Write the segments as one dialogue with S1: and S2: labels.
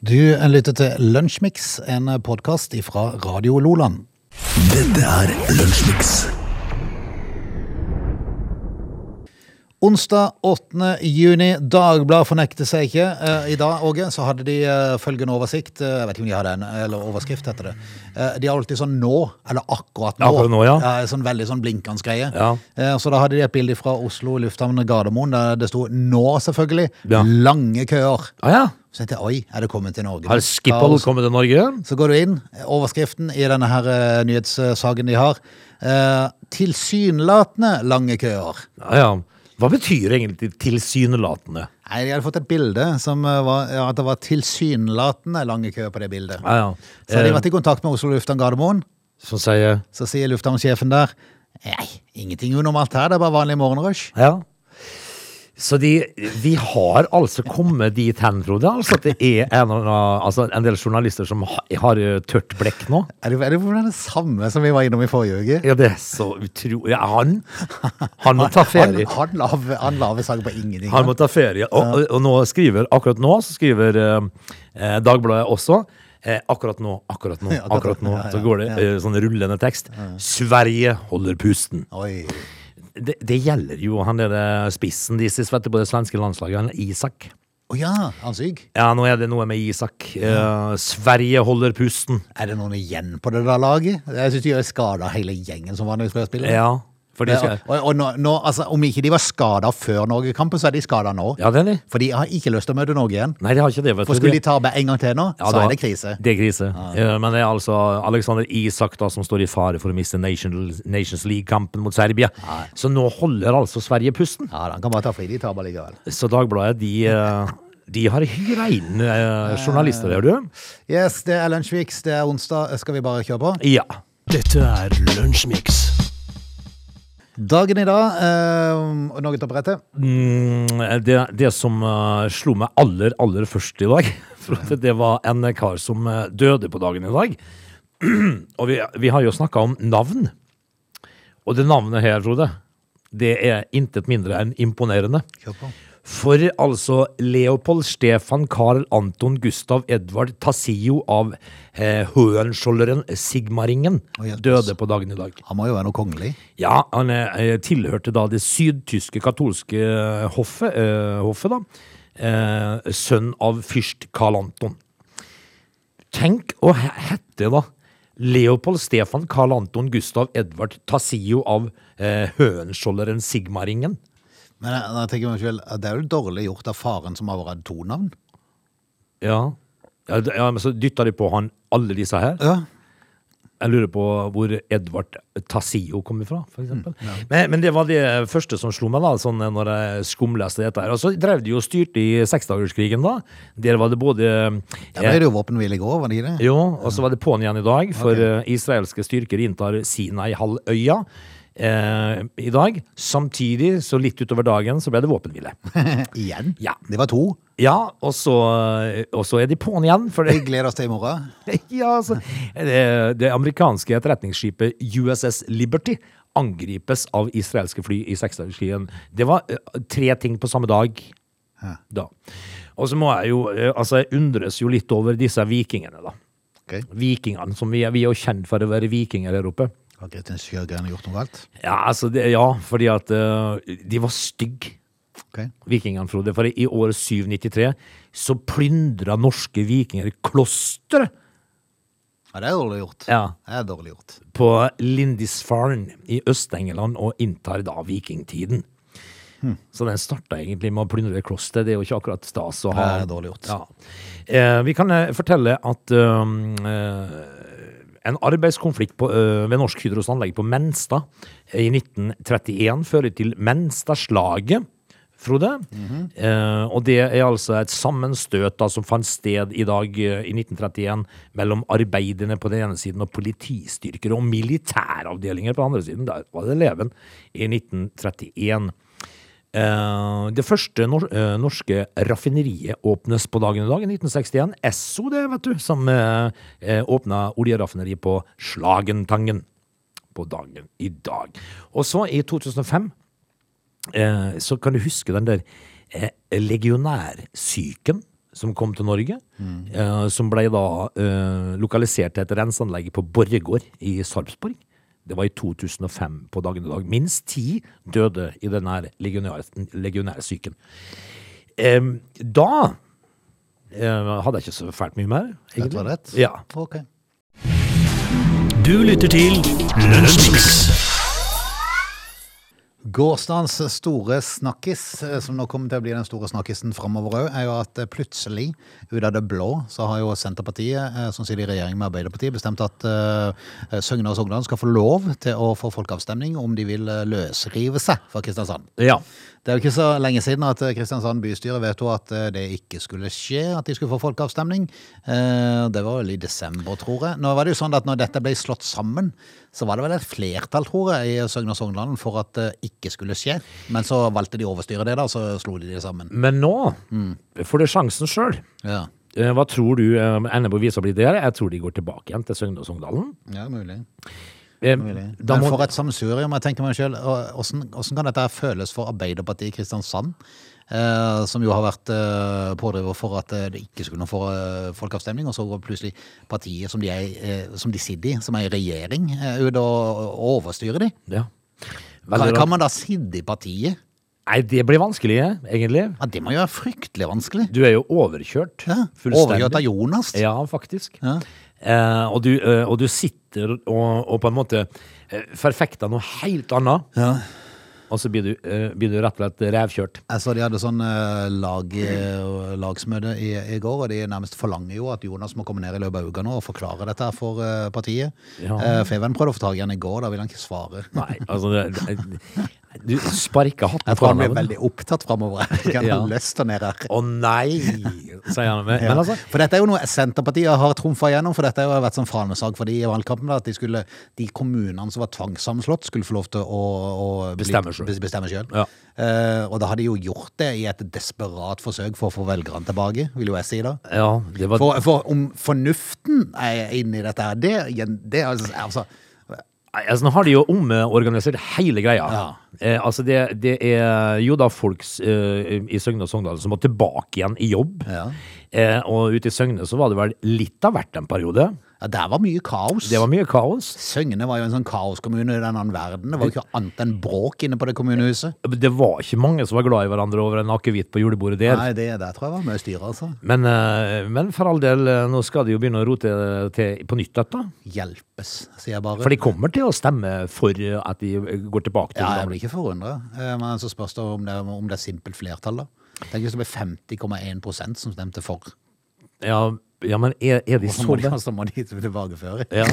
S1: Du lytter til Lunsjmix, en podkast fra Radio Loland.
S2: Dette er Lunsjmix.
S1: Onsdag 8. juni. Dagbladet fornekter seg ikke. Eh, I dag Åge, så hadde de eh, følgende oversikt. Eh, jeg vet ikke om de hadde en eller overskrift etter det. Eh, de har alltid sånn 'nå' eller 'akkurat nå'.
S3: Akkurat nå, ja.
S1: sånn Veldig sånn blinkende greie.
S3: Ja.
S1: Eh, så da hadde de et bilde fra Oslo lufthavn Gardermoen der det sto 'nå', selvfølgelig.
S3: Ja.
S1: Lange køer.
S3: Ah, ja.
S1: Så tenkte jeg 'oi, er det kommet til Norge?'
S3: Har Skippol kommet til Norge?
S1: Så går du inn, overskriften i denne her eh, nyhetssaken de har. Eh, tilsynelatende lange køer.
S3: Ja, Ah, ja. Hva betyr egentlig tilsynelatende?
S1: Nei, De hadde fått et bilde som eh, var ja, at det var tilsynelatende lange køer på det bildet.
S3: Ja, ja.
S1: Så har de
S3: Eh,
S1: vært i kontakt med Oslo lufthavn Gardermoen.
S3: Som sier
S1: Så sier lufthavnsjefen der Nei, ingenting unormalt her, det er bare vanlig morgenrush.
S3: Ja. Så de, vi har altså kommet dit hen, Frode, altså at det er en, eller annen- altså en del journalister som ha- har eh, tørt blekk nå.
S1: Er det, er det det samme som vi var innom i forrige uke?
S3: Ja, det er så utrolig ja, han, han må ta
S1: Han,
S3: ferie.
S1: han, lave, han lave sag på ingenting.
S3: Han må ta ferie. Og, og, og nå skriver, akkurat nå så skriver eh, eh, Dagbladet også eh, Akkurat nå, akkurat nå,
S1: Ja, akkurat
S3: akkurat nå.
S1: nå, ja,
S3: Så
S1: ja,
S3: går det
S1: ja.
S3: eh, sånn rullende tekst. Sverige holder pusten.
S1: Oi.
S3: Det, det gjelder jo han derre spissen de sist vet du, på det svenske landslaget, han Isak.
S1: Å ja, han er syk.
S3: Ja, nå er det noe med Isak. Eh, Sverige holder pusten.
S1: Er det noen igjen på det der laget? Jeg syns de har skada hele gjengen som var når vi skulle spille.
S3: Ja, for de
S1: Ja,
S3: skal
S1: og, og nå, nå, altså, om ikke de var skada før Norgekampen, så er de skada nå.
S3: Ja, det er de.
S1: For de har ikke lyst til å møte Norge igjen.
S3: Nei, de har ikke det, vet
S1: For
S3: du.
S1: skulle de tape en gang til nå,
S3: Ja,
S1: så
S3: da-
S1: er det krise.
S3: Det er krise. Eh, Men det er altså Alexander Isak da som står i fare for å miste Nations, Nations League-kampen mot Serbia. Så nå holder altså Sverige pusten.
S1: Ja, da, han kan bare ta fri, de taper likevel.
S3: Så Dagbladet, de, eh, de har hyra inn eh, journalister, hører du?
S1: Yes, det er Lunsjviks, det er onsdag. Skal vi bare kjøre på?
S3: Ja.
S2: Dette er Lunsjmix.
S1: Dagen i dag, eh, og noe til å berette.
S3: Mm, Det, det som eh, slo meg aller, aller først i dag, for at det var en kar som eh, døde på dagen i dag. Og vi, vi har jo snakka om navn. Og det navnet her, Frode, det er intet mindre enn imponerende.
S1: Kjør på.
S3: For altså Leopold Stefan Karl Anton Gustav Edvard Tassio av eh, Hohenzolleren Sigmaringen
S1: Å, hjelpes.
S3: døde på dagen i dag.
S1: Han må jo være noe kongelig.
S3: Ja, han eh, tilhørte da det sydtyske katolske eh, hoffet, eh, hoffet da. Eh, sønn av fyrst Karl Anton. Tenk å he- hette da Leopold Stefan Karl Anton Gustav Edvard Tassio av eh, Høensjolderen Sigmaringen.
S1: Men jeg, jeg tenker meg selv, at det er jo dårlig gjort av faren som har vært to navn.
S3: Ja. ja, d- ja men så dytta de på han alle disse her.
S1: Ja.
S3: Jeg lurer på hvor Edvard Tassio kom ifra, for eksempel.
S1: Mm,
S3: men, men det var det første som slo meg, da, sånn eh, når jeg skumleste dette her. Og så drev de jo og styrte i seksdagerskrigen, da. Der var det både eh,
S1: Der ble det jo våpenhvile i går, var det ikke det?
S3: Jo, og så var det på'n igjen i dag, for
S1: Ok.
S3: eh, israelske styrker inntar Sinai-halvøya. Eh, I dag. Samtidig, så litt utover dagen, så ble det våpenhvile.
S1: Igjen?
S3: Ja.
S1: Det var to.
S3: Ja, og så, eh, og så er de på'n igjen, for det,
S1: Vi gleder oss til i morgen.
S3: Ja, altså. Det, det amerikanske etterretningsskipet USS Liberty angripes av israelske fly i seksdagerskrigen. Det var eh, tre ting på samme dag. Da. Og så må jeg jo eh, Altså, jeg undres jo litt over disse vikingene, da.
S1: Ok.
S3: Vikingene, som vi er, vi er jo kjent for å være vikinger her oppe.
S1: Har Kristin Sjøgren gjort noe galt?
S3: Ja, altså, det, ja, fordi at eh, de var stygge.
S1: Ok.
S3: Vikingene, Frode, for i år 793 så plyndra norske vikinger klosteret
S1: Ja, det er dårlig gjort.
S3: Ja.
S1: Det er dårlig gjort.
S3: på Lindisfarne i Øst-England og inntar da vikingtiden.
S1: Hmm.
S3: Så den starta egentlig med å plyndre kloster. Det er jo ikke akkurat stas å ha.
S1: Det er dårlig gjort.
S3: Ja. Eh, vi kan eh, fortelle at um, eh, en arbeidskonflikt på, eh, ved Norsk Hydros anlegg på Menstad i 1931 fører til Menstadslaget. Frode. eh, og det er altså et sammenstøt da, som fant sted i dag eh, i 1931 mellom arbeiderne på den ene siden og politistyrker og militæravdelinger på den andre siden. Der var det leven i 1931. Eh, det første nor eh, norske raffineriet åpnes på dagen i dag, i 1961. Esso, det, vet du, som uh, åpna oljeraffineriet på Slagentangen på dagen i dag. Og så, i 2005, eh, så kan du huske den der eh, legionærsyken som kom til Norge,
S1: Mm.
S3: eh, som ble da eh, lokalisert til et renseanlegg på Borregaard i Sarpsborg. Det var i 2005 på dagen i dag. Minst ti døde i denne legionær, legionærsyken. Em, da eh, hadde jeg ikke så fælt mye mer,
S1: Rett var
S3: egentlig.
S1: rett?
S3: Ja.
S1: Ok.
S2: Du lytter til Lunsjmix.
S1: Gårsdagens store snakkis, eh, som nå kommer til å bli den store snakkisen framover òg, er jo at eh, plutselig, ut av det blå, så har jo Senterpartiet, eh, som sitter i regjering med Arbeiderpartiet, bestemt at eh, Søgne og Sogndal skal få lov til å få folkeavstemning om de vil eh, løsrive seg fra Kristiansand.
S3: ja.
S1: Det er jo ikke så lenge siden at eh, Kristiansand bystyre vedtok at eh, det ikke skulle skje, at de skulle få folkeavstemning. Eh, Det var vel i desember, tror jeg. Nå var det jo sånn at når dette ble slått sammen, så var det vel et flertall, tror jeg, i Søgne og Sogndalen for at det ikke skulle skje. Men så valgte de å overstyre det, da, og så slo de det sammen.
S3: Men nå
S1: Mm.
S3: får du sjansen sjøl.
S1: Ja,
S3: Hva tror du eh, ender på visa blir der? Jeg tror de går tilbake igjen til Søgne og Sogndalen.
S1: ja mulig.
S3: Eh, Da
S1: Men
S3: må,
S1: for et samsurium, jeg tenker meg selv, og- hvordan, hvordan kan dette her føles for Arbeiderpartiet i Kristiansand? Eh, som jo har vært eh, pådriver for at eh, det ikke skulle få eh, folkeavstemning, og så går plutselig partiet som de, er, eh, som de sitter i, som er i regjering, eh, ut og, og overstyrer de.
S3: ja.
S1: Kan,
S3: Veldig
S1: kan
S3: rart.
S1: man da sitte i partiet?
S3: Nei, det blir vanskelig, eh, egentlig.
S1: Ja, det må jo være fryktelig vanskelig.
S3: Du er jo overkjørt.
S1: Ja. Overgjørt av Jonas.
S3: Ja, faktisk.
S1: Ja.
S3: Eh, og, du, eh, og du sitter og, og på en måte eh, forfekter noe helt annet,
S1: Ja.
S3: og så blir du, eh, blir du rett og slett revkjørt.
S1: Jeg så de hadde sånn eh, lag, eh, lagsmøte i, i går, og de nærmest forlanger jo at Jonas må komme ned i løpet av uka nå og forklare dette her for eh, partiet.
S3: Ja.
S1: Eh, Feven prøvde å få tak i han i går, da vil han ikke svare.
S3: Nei, altså det, det- Du sparker hatten
S1: Jeg tror han
S3: foran
S1: blir
S3: deg.
S1: veldig opptatt framover. Han
S3: Ja.
S1: har lyst til å ned her.
S3: Å nei, sier han. Men,
S1: Ja.
S3: men altså,
S1: For dette er jo noe Senterpartiet har trumfa gjennom, for dette har jo vært sånn fanesak for de i valgkampen. da, At de, skulle, de kommunene som var tvangssammenslått, skulle få lov til å, å bli-
S3: Bestemme selv.
S1: bes- bestemme selv.
S3: Ja.
S1: Eh, og da har de jo gjort det i et desperat forsøk for å få velgerne tilbake, vil jo jeg si da.
S3: ja, det var
S1: For, for om fornuften er inne i dette her, det, det er altså, altså
S3: Nei, altså, Nå har de jo omorganisert hele greia. Eh, altså det, det er jo da folk eh, i Søgne og Sogndal som må tilbake igjen i jobb.
S1: Ja.
S3: Eh, og ute i Søgne så var det vel litt av hvert en periode.
S1: ja, Der var mye kaos.
S3: Det var mye kaos.
S1: Søgne var jo en sånn kaoskommune i den annen verden. Det var jo ikke annet enn bråk inne på det kommunehuset.
S3: Det var ikke mange som var glad i hverandre over en akevitt på julebordet der.
S1: Nei, det der tror jeg var mye styr, altså.
S3: Men, eh, men for all del, eh, nå skal de jo begynne å rote til på nytt dette.
S1: Hjelpes, sier jeg bare.
S3: For de kommer til å stemme for eh, at de går tilbake
S1: Ja,
S3: til det
S1: jeg
S3: gamle.
S1: blir ikke forundra. Men så spørs det om det, om det er simpelt flertall, da. Tenk hvis det blir 50,1 som stemte for.
S3: Ja, ja, men er, er de
S1: Så
S3: så
S1: må de, så må de tilbakeføre.
S3: Ja,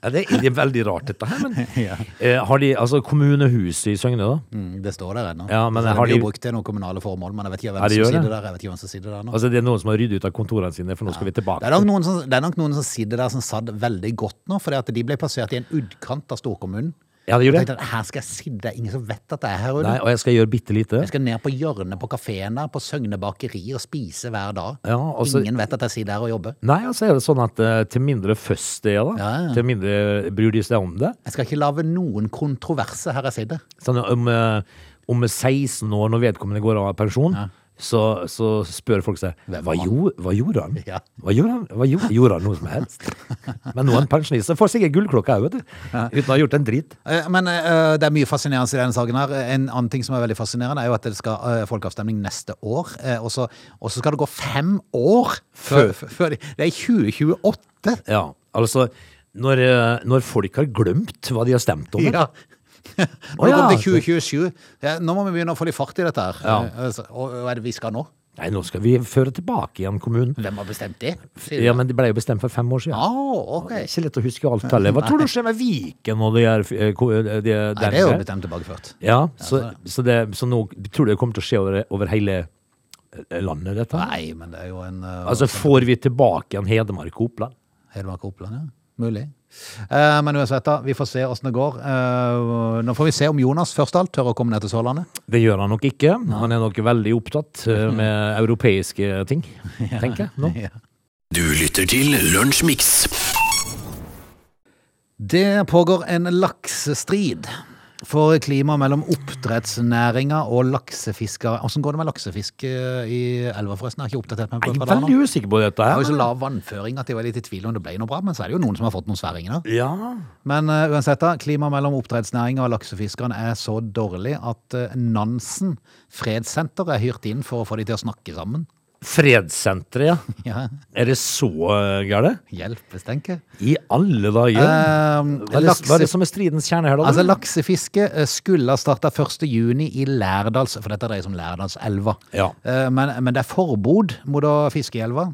S3: ja det, det er veldig rart dette her, men eh, har de, altså kommunehuset i Søgne da,
S1: Mm, det står der ennå.
S3: Ja, men
S1: det
S3: har
S1: blir
S3: de-
S1: jo brukt til noen kommunale formål, men jeg vet ikke
S3: Ja,
S1: hvem
S3: de
S1: som
S3: gjør
S1: sitter
S3: det.
S1: der. Jeg vet ikke hvem som sitter der nå.
S3: altså det er noen som har ryddet ut av kontorene sine, for nå skal vi
S1: Det
S3: tilbake.
S1: er, nok noen som, det er nok noen som sitter der som satt veldig godt nå, fordi at de ble plassert i en utkant av storkommunen.
S3: Ja,
S1: Og
S3: det gjør det.
S1: tenkte at her skal jeg sitte, det er ingen som vet at jeg er her. Rune.
S3: Nei, og jeg skal gjøre bittelite.
S1: Jeg skal ned på hjørnet på kafeen der, på Søgne bakeri og spise hver dag.
S3: Ja, og så-
S1: Ingen vet at jeg sitter her og jobber.
S3: Nei, altså er det sånn at eh, til mindre føss det er da,
S1: Ja, ja.
S3: til mindre bryr de seg om det.
S1: Jeg skal ikke lage noen kontroverser her jeg sitter.
S3: Sånn om, eh, om 16 år når vedkommende går av pensjon, så, så spør folk seg,
S1: Hvem
S3: hva,
S1: var han?
S3: gjo- hva gjorde han?
S1: Ja.
S3: Hva gjorde han? Hva gjorde, gjorde han noe som helst? Men noen pensjonister får sikkert gullklokka her, vet du, uten å ha gjort en drit.
S1: Eh, Men eh, det er mye fascinerende i denne saken her. En annen ting som er veldig fascinerende, er jo at det skal eh, folkeavstemning neste år. eh, Og så og så skal det gå fem år før, før de, Det er i 2028!
S3: Ja, altså når, eh, når folk har glemt hva de har stemt om
S1: Ja. Nå
S3: ja.
S1: kommer det 2027. Ja, nå må vi begynne å få litt fart i dette her.
S3: Ja.
S1: Eh, altså, Og hva er det vi skal nå?
S3: Nei, nå skal vi føre tilbake igjen kommunen
S1: Hvem har bestemt det? Sier
S3: Ja,
S1: du.
S3: men det ble jo bestemt for fem år siden
S1: Ah, ok.
S3: Det er ikke lett å huske alt heller Hva tror du skjer med Viken og det er eh, ko- eh, det-
S1: Nei, det er jo
S3: der?
S1: bestemt tilbakeført.
S3: Ja, så, så, det, så nå tror du det kommer til å skje over, over hele eh, landet dette?
S1: Nei, men det er jo en eh,
S3: Altså får vi tilbake igjen Hedmark og Oppland?
S1: Hedmark og Oppland, ja. Mulig. Eh, men uansett, da. Vi får se åssen det går. Eh, nå får vi se om Jonas først av alt tør å komme ned til Sørlandet.
S3: Det gjør han nok ikke Han er nok veldig opptatt eh, med europeiske ting Tenker jeg nå
S2: Du lytter til Lunsjmix.
S1: Det pågår en laksestrid. for klima mellom oppdrettsnæringa og laksefiskere. Hvordan går det med laksefisk eh, i elva, forresten? Jeg har ikke oppdatert meg på
S3: Jeg
S1: det.
S3: er
S1: fra da nå.
S3: veldig usikker på dette
S1: Det var
S3: her.
S1: jo så
S3: men-
S1: lav vannføring at jeg var litt i tvil om det ble noe bra, men så er det jo noen som har fått noen sværinger. da.
S3: Ja.
S1: Men eh, uansett, da, klimaet mellom oppdrettsnæringa og laksefiskerne er så dårlig at eh, Nansen fredssenter er hyrt inn for å få de til å snakke sammen.
S3: Fredssenteret, ja.
S1: Ja,
S3: Er det så eh, gærent?
S1: Hjelpes, tenker jeg.
S3: I alle dager.
S1: Ehm,
S3: Hva er det, hva er det som er stridens kjerne her, da?
S1: Altså, laksefiske eh, skulle ha starta 1.6 i Lærdals, for dette dreier seg om Lærdalselva.
S3: Ja.
S1: Eh, Men, men det er forbud mot å fiske i elva.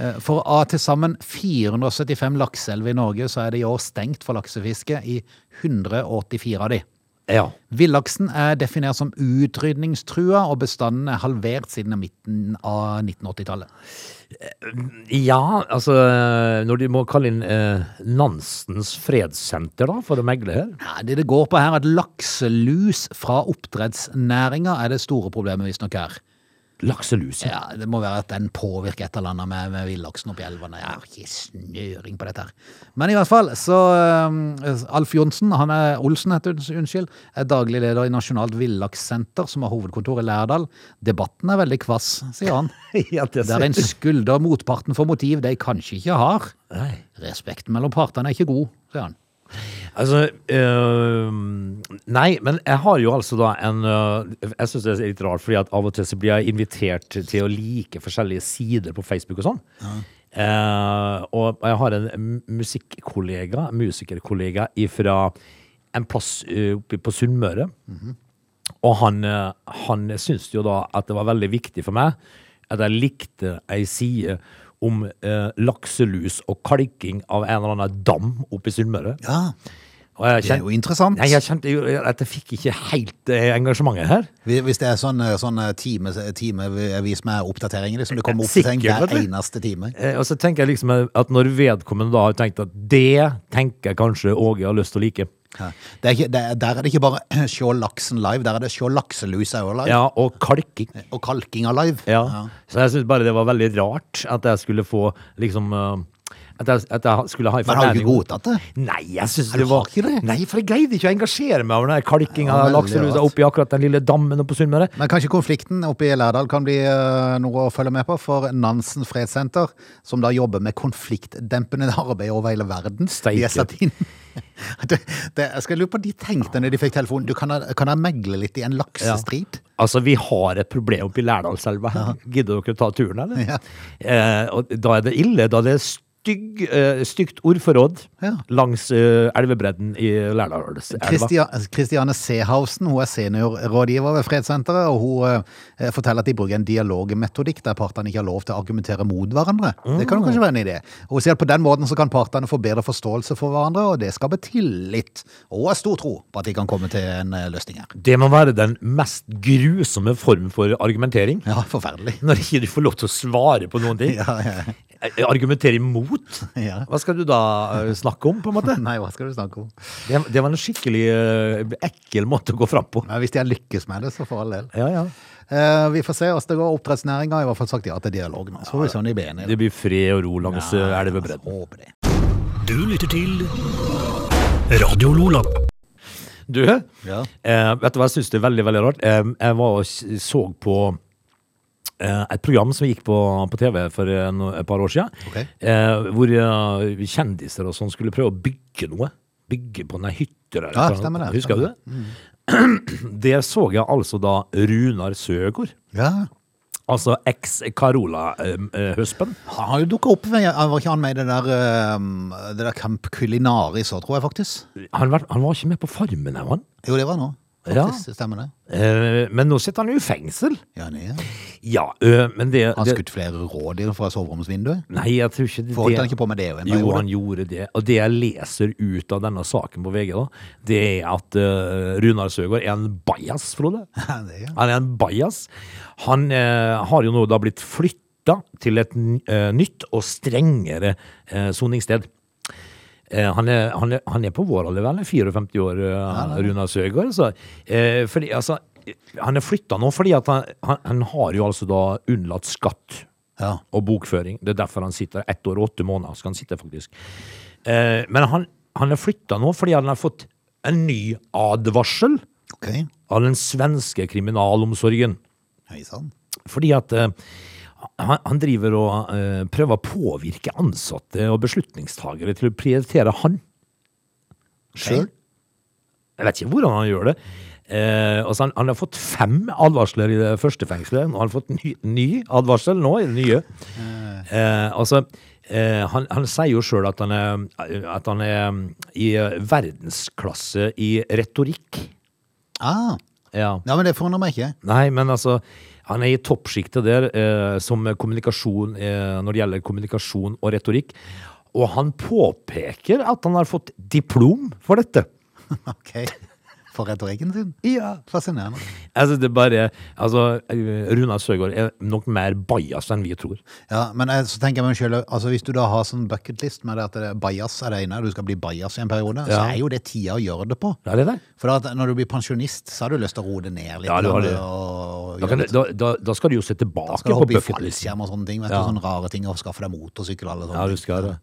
S1: Eh, For av til sammen 475 lakseelver i Norge, så er det i år stengt for laksefiske i 184 av de.
S3: ja.
S1: Villaksen er definert som utrydningstrua, og bestanden er halvert siden midten av 1980-tallet.
S3: Ja, altså Når de må kalle inn eh, Nansens fredssenter da, for å megle her
S1: Nei, Det det går på her, er at lakselus fra oppdrettsnæringa er det store problemet, visstnok her.
S3: Lakselus. Ja.
S1: Ja, Det må være at den påvirker et eller annet med, med villaksen oppi elvene. Jeg har ikke snøring på dette her. Men i hvert fall, så um, Alf Johnsen, han er Olsen, heter det, unnskyld, er daglig leder i Nasjonalt Villakssenter, som har hovedkontor i Lærdal. Debatten er veldig kvass, sier han.
S3: ja, det
S1: Der
S3: ser-
S1: en skulder motparten for motiv de kanskje ikke har.
S3: Nei.
S1: Respekten mellom partene er ikke god, sier han.
S3: Altså eh, Nei, men jeg har jo altså da en eh, Jeg syns det er litt rart, fordi at av og til så blir jeg invitert til å like forskjellige sider på Facebook og sånn. Eh, og jeg har en m- musikkollega, musikerkollega, fra en plass eh, oppe på Sunnmøre. Og han, eh, han syntes jo da at det var veldig viktig for meg at jeg likte ei side om eh, lakselus og kalking av en eller annen dam oppe i Sunnmøre.
S1: Ja,
S3: Og jeg kjente,
S1: interessant.
S3: nei, jeg kjente jo at jeg fikk ikke helt eh, engasjementet her.
S1: Hvis det er sånn, sånn time, timevis med oppdateringer, liksom. Det kommer
S3: oppdatering hver
S1: eneste time.
S3: Eh, Og så tenker jeg liksom at når vedkommende da har tenkt at det tenker jeg kanskje Åge har lyst til å like.
S1: Ja. Det er ikke, det, er- der er det ikke bare se laksen live, der er det se lakselusa òg live.
S3: Ja, og kalking.
S1: Og kalkinga live.
S3: Ja. Så jeg syns bare det var veldig rart at jeg skulle få liksom eh, At jeg, at jeg skulle ha en
S1: Men har du
S3: formening
S1: ikke
S3: om-
S1: godtatt det?
S3: Nei, jeg synes
S1: Nei,
S3: det
S1: du
S3: var
S1: har ikke det?
S3: Nei, for jeg greide ikke å engasjere meg over den her kalkinga
S1: Ja,
S3: av
S1: veldig
S3: lakselusa
S1: rart.
S3: oppi akkurat den lille dammen oppe på Sunnmøre.
S1: Men kanskje konflikten oppe i Lærdal kan bli eh, noe å følge med på for Nansen fredssenter, som da jobber med konfliktdempende arbeid over hele verden.
S3: Steike.
S1: De er satt inn. Det, det, jeg skal lure på hva de tenkte når de fikk telefonen. Du kan, jeg- kan jeg megle litt i en laksestrid?
S3: Altså, vi har et problem oppe i Lærdalselva her. Gidder dere å ta turen, eller?
S1: Ja.
S3: Eh, og da er det ille. Da er det stygg, eh, stygt ordforråd
S1: Ja.
S3: langs eh, elvebredden i Lærdalselva.
S1: Kristia- Kristiane Sehausen hun er seniorrådgiver ved fredssenteret, og hun eh, forteller at de bruker en dialogmetodikk der partene ikke har lov til å argumentere mot hverandre. Det kan jo kanskje være en idé. Og hun sier at på den måten så kan partene få bedre forståelse for hverandre, og det skaper tillit. Og hun har stor tro på at de kan komme til en eh, løsning her.
S3: Det må være den mest grusomme form for argumentering.
S1: Ja, forferdelig.
S3: Når ikke du får lov til å svare på noen ting.
S1: Ja, ja.
S3: Eh, Argumentere imot.
S1: Ja.
S3: Hva skal du da eh, snakke om, på en måte?
S1: Nei, hva skal du snakke om?
S3: Det, det var en skikkelig eh, ekkel måte å gå fram på.
S1: Men hvis de har lykkes med det, så for all del.
S3: Ja, ja.
S1: Eh, vi får se hvordan det går. Oppdrettsnæringa har i hvert fall sagt ja til dialog nå. Så får vi se om de blir enige.
S3: Det blir fred og ro langs eh, elvebredden.
S1: Håper det.
S2: Du lytter til Radio Lola.
S3: Du,
S1: Ja.
S3: eh, vet du hva jeg syns er veldig veldig rart? Eh, jeg var og s- så på eh, et program som gikk på, på TV for eh, no, et par år siden.
S1: Ok.
S3: Eh, hvor eh, kjendiser og sånn skulle prøve å bygge noe. Bygge på noen hytter eller
S1: Ja,
S3: noe.
S1: stemmer det, Mm.
S3: Husker du det? Det så jeg altså da Runar Søgaard.
S1: ja.
S3: Altså eh, eks-Carola-høspen.
S1: Han har jo dukka opp. ved- han Var ikke han med i det der, um, det der Camp Culinaris òg, tror jeg faktisk?
S3: han, var- han var ikke med på Farmen, er han?
S1: Jo, det var nå. Faktisk, det stemmer det.
S3: Eh, men nå sitter han jo i fengsel.
S1: Ja, nei, ja.
S3: Ja, eh, men det,
S1: Han
S3: det
S1: skutt flere rådyr fra soveromsvinduet.
S3: Nei, jeg tror ikke det.
S1: Forholdt han ikke på med det jo en
S3: Jo,
S1: periode?
S3: han gjorde det. Og det jeg leser ut av denne saken på VG, da, det er at eh, Runar Søgaard er en bajas, Frode.
S1: Ja, det er jo-
S3: Han er en bajas. Han eh, har jo nå da blitt flytta til et n- eh, nytt og strengere eh, soningssted. Eh, han, er, han, er, han er på vår alder, vel? 54 år, eh, Runar Søgaard. Så, eh, fordi, altså, eh, han er flytta nå fordi at han, han, han har jo altså da unnlatt skatt
S1: Ja.
S3: og bokføring. Det er derfor han sitter ett år og åtte måneder. skal han sitte faktisk. Eh, men han, han er flytta nå fordi han har fått en ny advarsel
S1: Ok,
S3: av den svenske kriminalomsorgen.
S1: hei sann.
S3: Fordi at eh, han, han driver og eh, prøver å påvirke ansatte og beslutningstagere til å prioritere han sjøl. Jeg vet ikke hvordan han gjør det. Eh, altså han, han har fått fem advarsler i det første fengselet, og han har fått ny, ny advarsel nå i det nye. Eh, altså, eh, han, han sier jo sjøl at, han er- at han er mm, i verdensklasse i retorikk.
S1: Ah,
S3: Ja.
S1: ja, men det forundrer meg ikke.
S3: Nei, men altså han er i toppsjiktet der eh, som kommunikasjon, eh, når det gjelder kommunikasjon og retorikk. Og han påpeker at han har fått diplom for dette.
S1: Ok, for retorikken sin.
S3: Ja.
S1: Fascinerende.
S3: Altså, det er bare Altså, eh, Runar Søgaard er nok mer bajas enn vi tror.
S1: Ja, men jeg, så tenker jeg meg selv, altså hvis du da har sånn bucketlist med det at det er bias er det ene, du skal bli bias i en periode, så
S3: Ja.
S1: er jo det tida å gjøre det på.
S3: Er det det?
S1: For da, at når du blir pensjonist, så har du lyst til å roe det ned litt.
S3: Ja, du har det.
S1: Og, og
S3: Da, kan,
S1: gjøre
S3: du- da, da, da skal du jo se tilbake
S1: skal du
S3: på
S1: hoppe i
S3: bucketlisten.
S1: fallskjerm og sånne ting, vet
S3: Ja.
S1: du, sånne rare ting, og skaffe deg motorsykkel og alle sånne
S3: Ja, du skal det.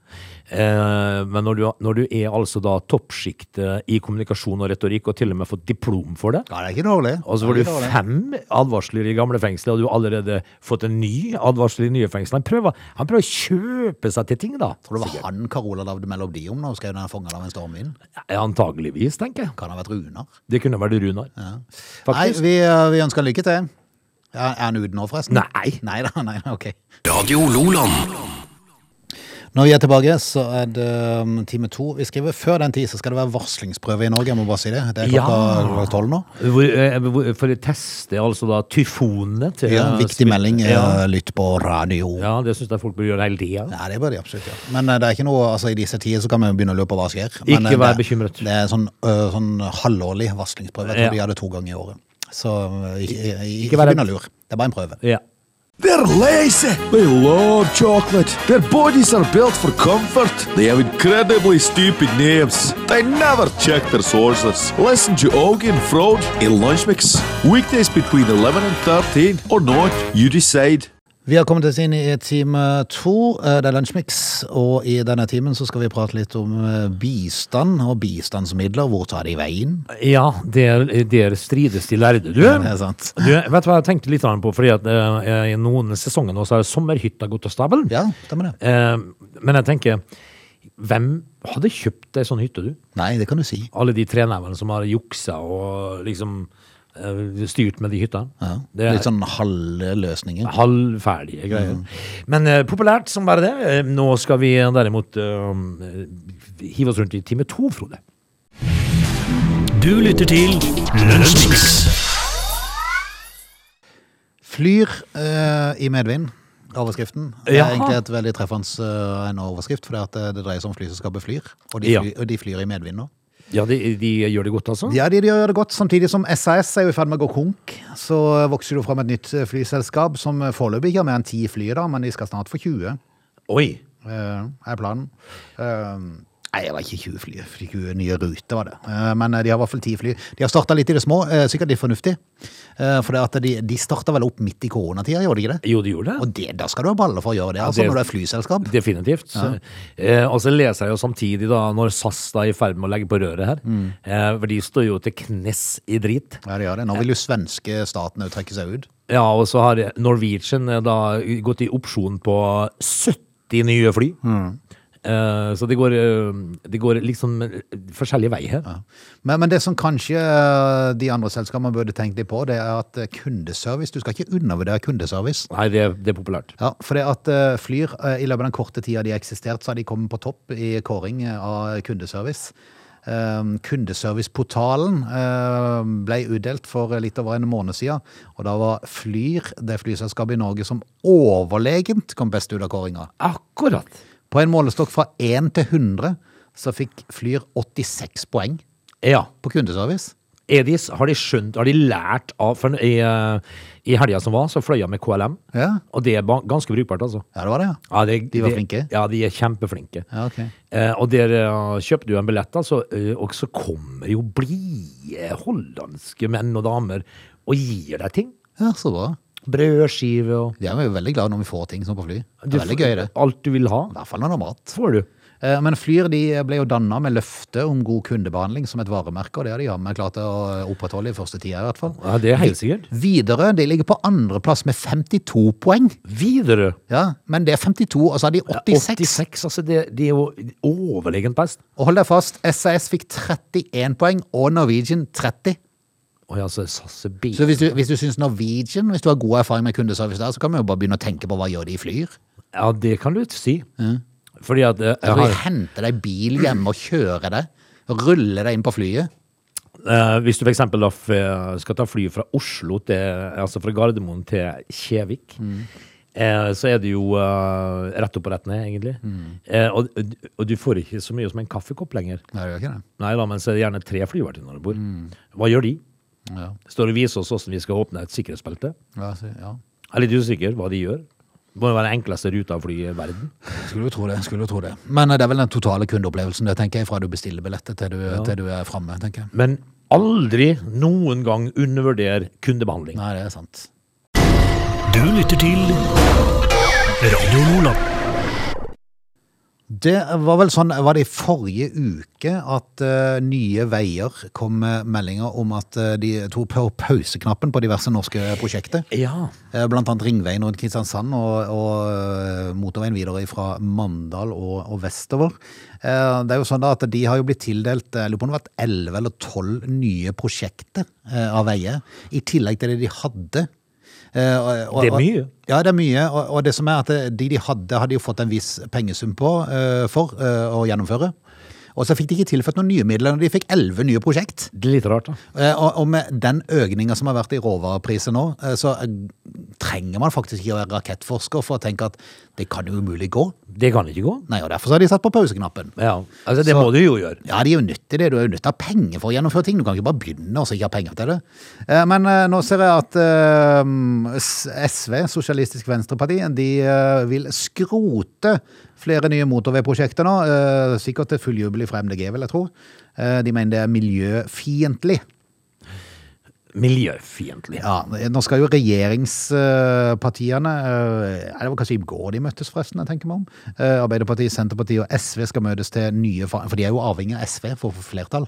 S3: Eh, men når du, når du er altså da toppsjiktet i kommunikasjon og retorikk, og til og med fått diplom for det,
S1: Ja, det er ikke dårlig.
S3: Og så får du Altså, fem advarsler i gamle fengsler, og du har allerede fått en ny advarsel i nye fengsler. Han prøver, han prøver å kjøpe seg til ting, da.
S1: Tror du det var han Carola lagde melodi om når hun skrev den fanget av en stormvind?
S3: Antageligvis, tenker jeg.
S1: Kan det ha vært Runar?
S3: Det kunne vært Runar.
S1: Nei,
S3: Faktisk.
S1: vi, eh, vi ønsker lykke til. Er er han ute nå, forresten?
S3: Nei.
S1: Nei da, nei, ok.
S2: Radio Loland.
S1: Når vi er tilbake, så er det um, time to vi skriver. Før den tid så skal det være varslingsprøve i Norge, jeg må bare si det. Det er klokka
S3: Ja.
S1: tolv nå.
S3: Hvor, eh, hvor, for å teste altså da tyfonene til
S1: Ja, viktig melding. eh,
S3: Ja,
S1: Lytt på radio.
S3: ja det syns jeg folk bør gjøre hele tida.
S1: Nei, det bør de absolutt gjøre. Men eh, det er ikke noe, altså i disse tider så kan vi jo begynne å lure på hva som skjer. Men,
S3: Ikke
S1: eh,
S3: vær
S1: det-
S3: bekymret.
S1: Det er sånn, ø, sånn halvårlig varslingsprøve. Jeg tror
S3: Ja.
S1: de gjør det to ganger i året. Så eh, ikke, ikke, ikke
S3: vær redd.
S1: begynn å lure. Det er bare en prøve.
S3: Ja.
S4: They're lazy. They love chocolate. Their bodies are built for comfort. They have incredibly stupid names. They never check their sources. Listen to Augie and Frode in Lunch Mix. Weekdays between 11 and 13 or not, you decide.
S1: Vi har kommet oss inn i time to. Eh, Det er Lunsjmix, og i denne timen så skal vi prate litt om eh, bistand og bistandsmidler. Hvor tar de veien?
S3: ja, der, der strides de lærde. Du,
S1: Det er sant.
S3: Du, vet du hva jeg tenkte litt grann på? Fordi at eh, I noen sesonger nå så har sommerhytta gått av stabelen.
S1: Ja, stemmer det.
S3: Eh, men jeg tenker, hvem hadde kjøpt ei sånn hytte, du?
S1: Nei, det kan du si.
S3: Alle de trenevene som har juksa og liksom eh, styrt med de hyttene.
S1: Ja.
S3: Det er
S1: Litt sånn Mm. halve løsninger.
S3: halvferdige greier. Men eh, populært som bare det. Eh, nå skal vi derimot eh, hive oss rundt i time to, Frode.
S2: Du lytter til Lunsjmix.
S1: Flyr eh, i medvind. Overskriften. Det er
S3: Jaha.
S1: egentlig et veldig treffende eh, en overskrift, for det, det dreier seg om flyselskapet Flyr. Og de,
S3: Ja.
S1: fly, og de flyr i medvind nå.
S3: Ja, de, de gjør det godt, altså?
S1: Ja, de, de gjør det godt. Samtidig som SAS er jo i ferd med å gå konk, så vokser det jo fram et nytt eh, flyselskap som eh, foreløpig ikke har mer enn ti fly, da, men de skal snart få 20,
S3: Oi!
S1: eh, er planen. Eh, Nei, det var ikke 20 fly, 20 nye ruter var det. Eh, Men eh, de har i hvert fall 10 fly. De har starta litt i det små, eh, sikkert litt fornuftig. eh, For det at de, de starta vel opp midt i koronatida, gjorde de ikke det?
S3: Jo, de gjorde det.
S1: Og det, da skal du ha baller for å gjøre det, altså,
S3: det-
S1: når du er flyselskap.
S3: Definitivt. Eh, og så leser jeg jo samtidig, da, når SAS da er i ferd med å legge på røret her,
S1: Mm.
S3: eh, for de står jo til knes i drit.
S1: Ja, det gjør det. Nå vil jo svenske staten jo trekke seg ut.
S3: Ja, og så har Norwegian eh, da gått i opsjon på 70 nye fly.
S1: Mm.
S3: Eh, så det går, eh, det går liksom eh, forskjellige veier her.
S1: Men, men det som kanskje eh, de andre selskapene burde tenkt litt på, det er at eh, kundeservice, du skal ikke undervurdere kundeservice.
S3: Nei, det, det er populært.
S1: Ja, for det at eh, Flyr, eh, i løpet av den korte tida de har eksistert, så har de kommet på topp i kåring eh, av kundeservice. Um, kundeserviceportalen eh, ble utdelt for litt over en måned siden, og da var Flyr det flyselskapet i Norge som overlegent kom best ut av kåringa.
S3: Akkurat!
S1: På en målestokk fra 1 til 100 så fikk Flyr 86 poeng
S3: Ja.
S1: på kundeservice.
S3: Er de, har de skjønt, har de lært av for, I, eh, i helga som var, så fløy jeg med KLM.
S1: Ja.
S3: Og det er ba- ganske brukbart, altså.
S1: Ja, det var det, ja.
S3: Ja, det,
S1: De var
S3: det-
S1: flinke?
S3: Ja, de er kjempeflinke.
S1: Ja, ok.
S3: Eh, og der eh, kjøpte du en billett, altså, eh, og så kommer jo blide hollandske menn og damer og gir deg ting.
S1: Ja, så bra.
S3: Brødskive og
S1: De er jo veldig glade når vi får ting som på fly. Det er veldig gøy, det.
S3: Alt du vil ha,
S1: I hvert fall når det er mat.
S3: får du.
S1: Eh, Men Flyr de ble jo danna med løfte om god kundebehandling som et varemerke, og det har de jammen klart å opprettholde i første tida i hvert fall.
S3: Ja, det er helt sikkert.
S1: Widerøe de ligger på andreplass med 52 poeng.
S3: Widerøe.
S1: Ja, men det er 52, og så har de 86.
S3: 86, altså det, det er jo overlegent best.
S1: Og hold deg fast, SAS fikk 31 poeng, og Norwegian 30.
S3: Oi, altså, SAS er
S1: Så
S3: bil.
S1: hvis du, hvis du syns Norwegian, hvis du har god erfaring med kundeservice der, så kan vi jo bare begynne å tenke på hva gjør de i Flyr?
S3: Ja, det kan du si. Fordi at eh, jeg
S1: Skal
S3: har,
S1: de hente deg bil hjemme og kjøre deg? Rulle deg inn på flyet?
S3: eh, hvis du for eksempel da, f- eh, skal ta fly fra Oslo til, altså fra Gardermoen til Kjevik, eh, så er det jo eh, rett opp og rett ned, egentlig. Eh, og, og du får ikke så mye som en kaffekopp lenger.
S1: Nei, det gjør ikke det.
S3: Nei da, men så er det gjerne tre flyvertinner om bord. Hva gjør de?
S1: Ja,
S3: Står og viser oss hvordan vi skal åpne et sikkerhetsbelte.
S1: ja, så, ja.
S3: Jeg er litt usikker hva de gjør. Det må jo være den enkleste ruta å fly i verden.
S1: Skulle jo tro det. skulle jo tro det. Men eh, det er vel den totale kundeopplevelsen det, tenker jeg, fra du bestiller billettet til du, til du er framme, tenker jeg.
S3: Men aldri noen gang undervurder kundebehandling.
S1: Nei, det er sant.
S2: Du lytter til Radio Lola.
S1: Det var vel sånn, var det i forrige uke at eh, Nye Veier kom med meldinger om at eh, de tok pa- pauseknappen på diverse norske prosjekter.
S3: Ja.
S1: Eh, Blant annet Ringveien rundt Kristiansand og, og eh, motorveien videre fra Mandal og, og vestover. Eh, Det er jo sånn da at de har jo blitt tildelt, eh, jeg lurer på om det har vært 11 eller 12 nye prosjekter eh, av veier, i tillegg til det de hadde. Eh, og- og-
S3: Det er mye.
S1: ja, det er mye, og, og det som er at det- de de hadde, hadde jo fått en viss pengesum på eh, for eh, å gjennomføre. Og så fikk de ikke tilført noen nye midler, og de fikk elleve nye prosjekt.
S3: Det er litt rart, da.
S1: Eh, og, og med den økninga som har vært i råvarepriser nå, eh, så eh, trenger man faktisk ikke å være rakettforsker for å tenke at det kan jo umulig gå.
S3: Det kan ikke gå.
S1: Nei, og derfor så har de satt på pauseknappen.
S3: Ja, altså Det
S1: Så-
S3: må du jo gjøre.
S1: Ja, de er jo nødt til det. Du er jo nødt til å ha penger for å gjennomføre ting. Du kan ikke bare begynne og så ikke ha penger til det. Eh, Men eh, nå ser jeg at eh, S- SV, Sosialistisk Venstreparti, de eh, vil skrote flere nye motorveiprosjekter nå. eh, Sikkert til full jubel fra MDG, vil jeg tro. Eh, De mener det er miljøfiendtlig.
S3: Miljøfiendtlig.
S1: Ja, nå skal jo regjeringspartiene eh, Det var kanskje i går de møttes, forresten. jeg tenker meg om. Eh, Arbeiderpartiet, Senterpartiet og SV skal møtes til nye fa- For de er jo avhengig av SV for å få flertall.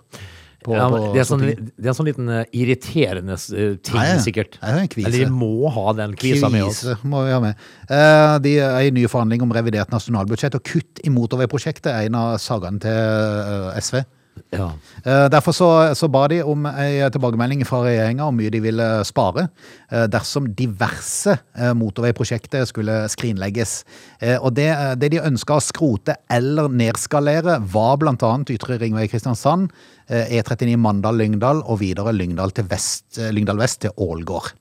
S1: på-
S3: Ja, men
S1: på
S3: det, er sånn,
S1: Stortinget.
S3: li- det er en sånn liten eh, irriterende eh, ting,
S1: Ja, ja.
S3: sikkert.
S1: Ja, det er en kvise.
S3: Eller de må ha den kvisa med oss.
S1: Krise må vi ha med. Eh, De er i nye forhandlinger om revidert nasjonalbudsjett, og kutt i motorveiprosjektet er en av sagene til eh, SV.
S3: Ja.
S1: Eh, Derfor så, så ba de om en tilbakemelding fra regjeringa om mye de ville spare eh, dersom diverse eh, motorveiprosjekter skulle skrinlegges. Eh, Og det, eh, det de ønska å skrote eller nedskalere, var bl.a. Ytre Ringvei Kristiansand, eh, E39 Mandal-Lyngdal og videre Lyngdal, til vest, eh, Lyngdal vest til Ålgård.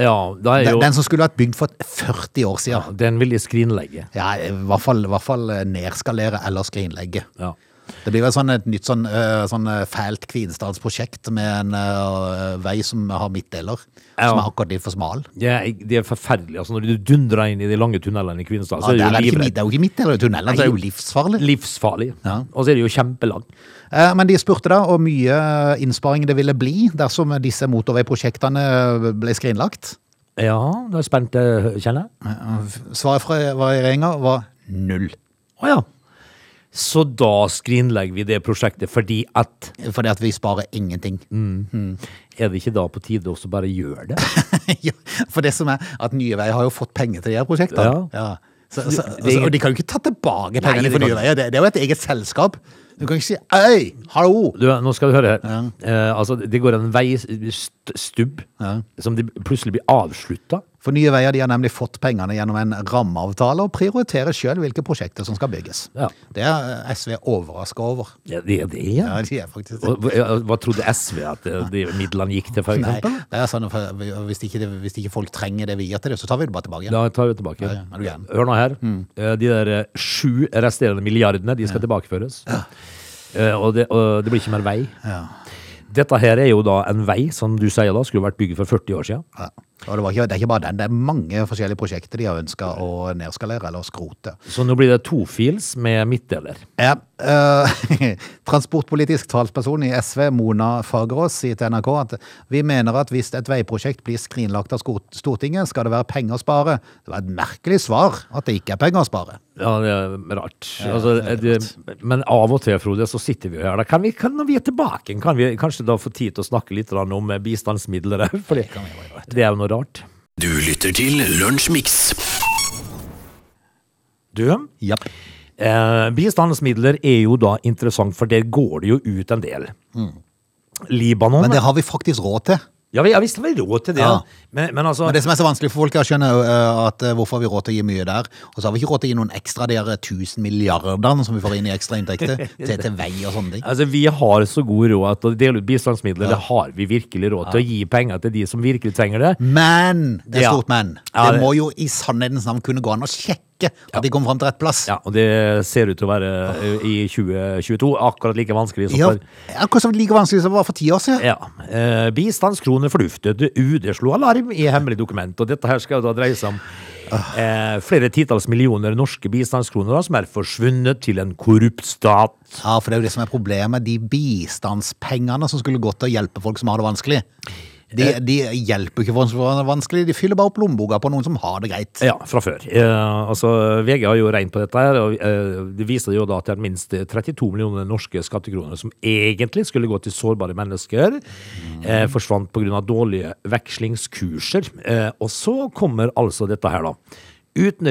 S3: ja, da er
S1: Den,
S3: jo
S1: den som skulle vært bygd for 40 år
S3: ja,
S1: siden.
S3: Den vil de skrinlegge.
S1: Ja, i hvert fall, i hvert fall eh, nedskalere eller skrinlegge.
S3: Ja.
S1: Det blir vel sånn et nytt sånn, øh, sånn øh, fælt kvinnestadsprosjekt med en øh, vei som har midtdeler,
S3: Ja.
S1: som er akkurat litt for smal.
S3: Det er, det er forferdelig. altså Når du dundrer inn i de lange tunnelene i Kvinesdal, så
S1: Ja, der er
S3: er
S1: det,
S3: du
S1: ikke, mid-
S3: livredd.
S1: det er jo ikke midtdeler i tunnelen, så det er jo
S3: Nei.
S1: livsfarlig.
S3: Livsfarlig.
S1: Ja.
S3: Og så er det jo kjempelang.
S1: Eh, Men de spurte da hvor mye eh, innsparing det ville bli dersom disse motorveiprosjektene eh, ble skrinlagt.
S3: Ja, du er jeg spent, eh, kjenner jeg.
S1: Svaret fra regjeringa var null.
S3: Å ja. Så da skrinlegger vi det prosjektet, fordi at
S1: Fordi at vi sparer ingenting.
S3: Er det ikke da på tide også bare gjøre det?
S1: Ja, For det som er at Nye Veier har jo fått penger til de her prosjektene.
S3: Ja.
S1: Ja. Så, så,
S3: Det-
S1: altså, og de kan jo ikke ta tilbake pengene
S3: Nei, det
S1: for
S3: kan
S1: Nye Veier. Det, det er jo et eget selskap. Du kan ikke si 'øy, hallo'.
S3: Du, nå skal du høre her. Eh, altså, det går en veistubb som de plutselig blir avslutta.
S1: For Nye Veier de har nemlig fått pengene gjennom en rammeavtale og prioriterer sjøl hvilke prosjekter som skal bygges.
S3: Ja.
S1: Det er eh, SV overraska over.
S3: Ja, det er det, ja.
S1: Ja, de er faktisk det.
S3: Og Hva, hva trodde SV at eh, de midlene gikk til, for
S1: Nei,
S3: eksempel?
S1: det er sånn, for hvis, ikke det, hvis ikke folk trenger det vi gir til det, så tar vi det bare tilbake. igjen.
S3: Da tar vi det tilbake.
S1: Ja, ja, er du gæren? Mm.
S3: Hør nå her. Eh, De der eh, sju resterende milliardene, de skal tilbakeføres. Eh, Og det, og det blir ikke mer vei. Dette her er jo da en vei, som du sier da, skulle vært bygget for 40 år siden.
S1: Ja. Og det, var ikke, det er ikke bare den, det er mange forskjellige prosjekter de har ønska å nedskalere eller skrote.
S3: Så nå blir det to fils med midtdeler.
S1: Ja, eh, transportpolitisk talsperson i SV, Mona Fagerås, sier til NRK at vi mener at hvis et veiprosjekt blir skrinlagt av Skot- Stortinget, skal det være penger å spare. Det var et merkelig svar at det ikke er penger å spare.
S3: Ja, det er rart. Altså, det, men av og til, Frode, så sitter vi jo her. Da kan vi, kan, når vi er tilbake, kan vi kanskje da få tid til å snakke litt grann om eh, bistandsmidler òg, for det, det er jo noe rart.
S2: Du lytter til Lunsjmix.
S3: Du, eh, bistandsmidler er jo da interessant, for der går det jo ut en del. Libanon
S1: Mm. Men det har vi faktisk råd til.
S3: Ja, vi- ja visst har vi råd til det.
S1: Ja.
S3: Men, men altså
S1: Men det som er så vanskelig for folk, er å skjønne eh, at eh, hvorfor har vi råd til å gi mye der, og så har vi ikke råd til å gi noen ekstra de her 1000 milliardene som vi får inn i ekstra inntekter til, til vei og sånne ting.
S3: Altså, Vi har så god råd at å dele ut bistandsmidler, det har vi virkelig råd til. Å gi penger til de som virkelig trenger det.
S1: Men! Det er
S3: Ja.
S1: stort men.
S3: Ja,
S1: Det
S3: det-
S1: må jo i sannhetens navn kunne gå an å sjekke at de kom fram til rett plass.
S3: Ja, Og det ser ut til å være eh, i 2022 akkurat like vanskelig som
S1: Ja,
S3: for
S1: akkurat som like vanskelig som det var for ti år siden.
S3: ja. Eh, Bistandskroner forduftet. UD slo alarm i hemmelig dokument. Og dette her skal jo da dreie seg om eh, flere titalls millioner norske bistandskroner da, som er forsvunnet til en korrupt stat.
S1: Ja, for det er jo det som er problemet. De bistandspengene som skulle gått til å hjelpe folk som har det vanskelig, de, de hjelper ikke folk som har det vanskelig, de fyller bare opp lommeboka på noen som har det greit.
S3: Ja, fra før. Eh, altså, VG har jo regnet på dette her, og eh, det viser jo da at det er minst 32 millioner norske skattekroner som egentlig skulle gå til sårbare mennesker, eh, forsvant pga. dårlige vekslingskurser. Eh, og så kommer altså dette her, da.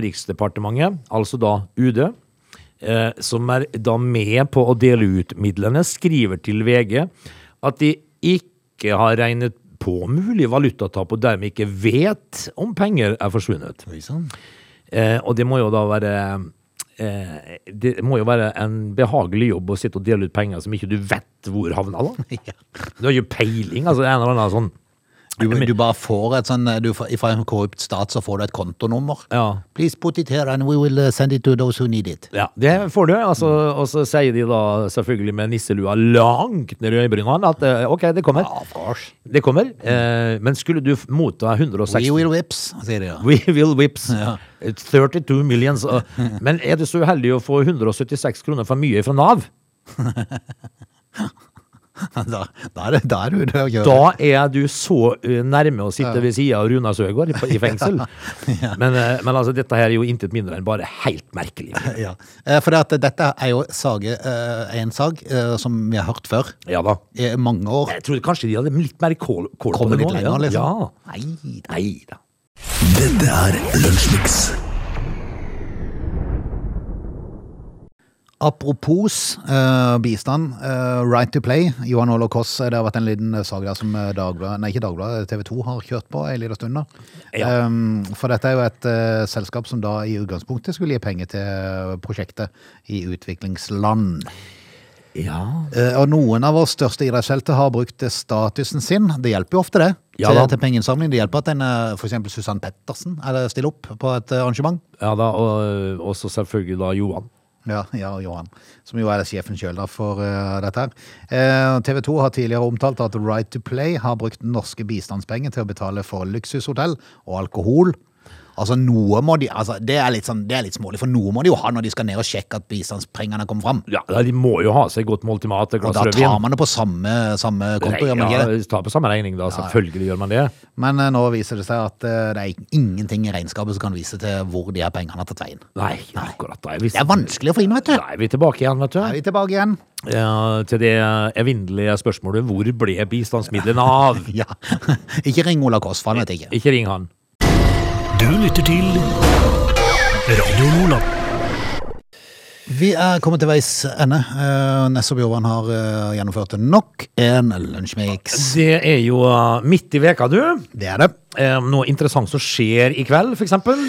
S3: Utenriksdepartementet, altså da UD, eh, som er da med på å dele ut midlene, skriver til VG at de ikke har regnet på mulig valutatap, og dermed ikke vet om penger er forsvunnet.
S1: Oi, sånn. sann.
S3: Eh, og det må jo da være eh, Det må jo være en behagelig jobb å sitte og dele ut penger som ikke du vet hvor havna, da.
S1: Ja.
S3: Du har jo peiling, altså. En eller annen sånn
S1: Du, du bare får et sånn du, får- Fra en korrupt stat så får du et kontonummer.
S3: Ja.
S1: Please put it here and we will uh, send it to those who need it.
S3: Ja, det får du. Altså, og så sier de da selvfølgelig med nisselua langt ned i øyebrynene at eh, OK, det kommer.
S1: Of course.
S3: Det kommer. Eh, men skulle du f- motta 160
S1: We will whips, sier de. ja.
S3: We will whips. 32 Eh, millions. uh, Men er du så uheldig å få 176 kroner for mye fra Nav?
S1: Da, da, er det, da er du ute å kjøre.
S3: Da er du så uh, nærme å sitte ved sida av Runa Søgaard i- i fengsel. Men, uh, men altså, dette her er jo intet mindre enn bare helt merkelig.
S1: Ja. Eh, For det at dette er jo sage, eh, en sag eh, som vi har hørt før
S3: Ja da.
S1: i mange år.
S3: Jeg trodde kanskje de hadde litt mer kål, kål på
S1: Kommer
S3: det
S1: litt
S3: nå.
S1: lenger, liksom.
S3: Ja.
S1: Nei, da.
S3: Nei da.
S2: Dette er Lunsjmix.
S1: Apropos eh, bistand, eh, Right to Play, Johan Ole Koss, eh, det har vært en liten sag der som eh, Dagbladet, nei ikke Dagbladet, TV 2 har kjørt på en liten stund nå.
S3: Ja.
S1: Um, for dette er jo et eh, selskap som da i utgangspunktet skulle gi penger til eh, prosjektet i utviklingsland.
S3: Ja.
S1: Eh, og noen av våre største idrettshelter har brukt eh, statusen sin, det hjelper jo ofte det,
S3: Ja
S1: til,
S3: da.
S1: til pengeinnsamling. Det hjelper at en, eh, for eksempel Susanne Pettersen eller stiller opp på et eh, arrangement.
S3: ja da, og også selvfølgelig da Johan.
S1: Ja, ja, Johan, som jo er sjefen sjøl for eh, dette. her. Eh, TV 2 har tidligere omtalt at Right to Play har brukt norske bistandspenger til å betale for luksushotell og alkohol. Altså, noe må de, altså, det, er litt sånn, det er litt smålig, for noe må de jo ha når de skal ned og sjekke at bistandspengene kom fram.
S3: Ja, da, De må jo ha seg godt måltid mat og
S1: Og
S3: glass
S1: da
S3: rødvin.
S1: tar man det på samme, samme konto, gjør man
S3: Nei,
S1: ikke det?
S3: ja, ta på samme regning, da. Selvfølgelig gjør man det.
S1: Men eh, nå viser det seg at eh, det er ingenting i regnskapet som kan vise til hvor de her pengene har tatt veien.
S3: Nei, akkurat da. er vi-
S1: Det er vanskelig å få inn, vet du.
S3: Da er vi tilbake igjen, vet du.
S1: Er vi tilbake igjen?
S3: Ja, til det evinnelige spørsmålet hvor ble bistandsmidlene av?
S1: Ja. Ikke ring Ola Kåss, for han vet ikke.
S3: Ikke ring han.
S2: Du lytter til Radio Nordland.
S1: Vi er kommet til veis ende. Eh, Nesse Bjørvann har eh, gjennomført nok en lunsjmix.
S3: Det er jo eh, midt i veka, du.
S1: Det er det.
S3: Eh, Noe interessant som skjer i kveld, for eksempel.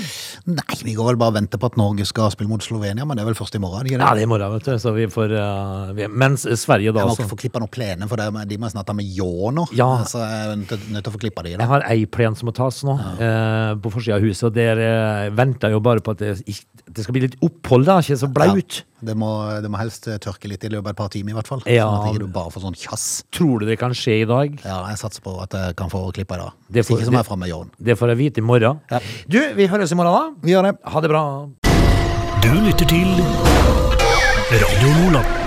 S1: Nei, vi går vel bare og venter på at Norge skal spille mot Slovenia, men det er vel først i morgen? er det Ikke
S3: Ja,
S1: det?
S3: det er i morgen, vet du. Så vi får, eh, vi, mens Sverige da
S1: Jeg må
S3: så,
S1: ikke få klippa noen plener, for det er- de må jeg snart ta med ljå nå.
S3: altså. Ja.
S1: Så jeg er nødt til- nødt til å få klippa de.
S3: Jeg
S1: da.
S3: har ei plen som må tas nå, eh, på forsida av huset. Og der eh, venter jeg jo bare på at det, ikk- det skal bli litt opphold, da. Ikke så blaut.
S1: Det må, det må helst eh, tørke litt i løpet av et par timer, i hvert fall.
S3: Ja.
S1: Sånn at ikke du bare får sånn kjass.
S3: Tror du det kan skje i dag?
S1: Ja, jeg satser på at jeg kan få klippa i dag.
S3: Det
S1: Hvis
S3: får-
S1: ikke så må
S3: det-
S1: jeg fram med ljåen.
S3: Det får jeg vite i morgen.
S1: Ja.
S3: Du, vi høres i morgen, da.
S1: Vi gjør det.
S3: Ha det bra.
S2: Du lytter til Radio Nordland.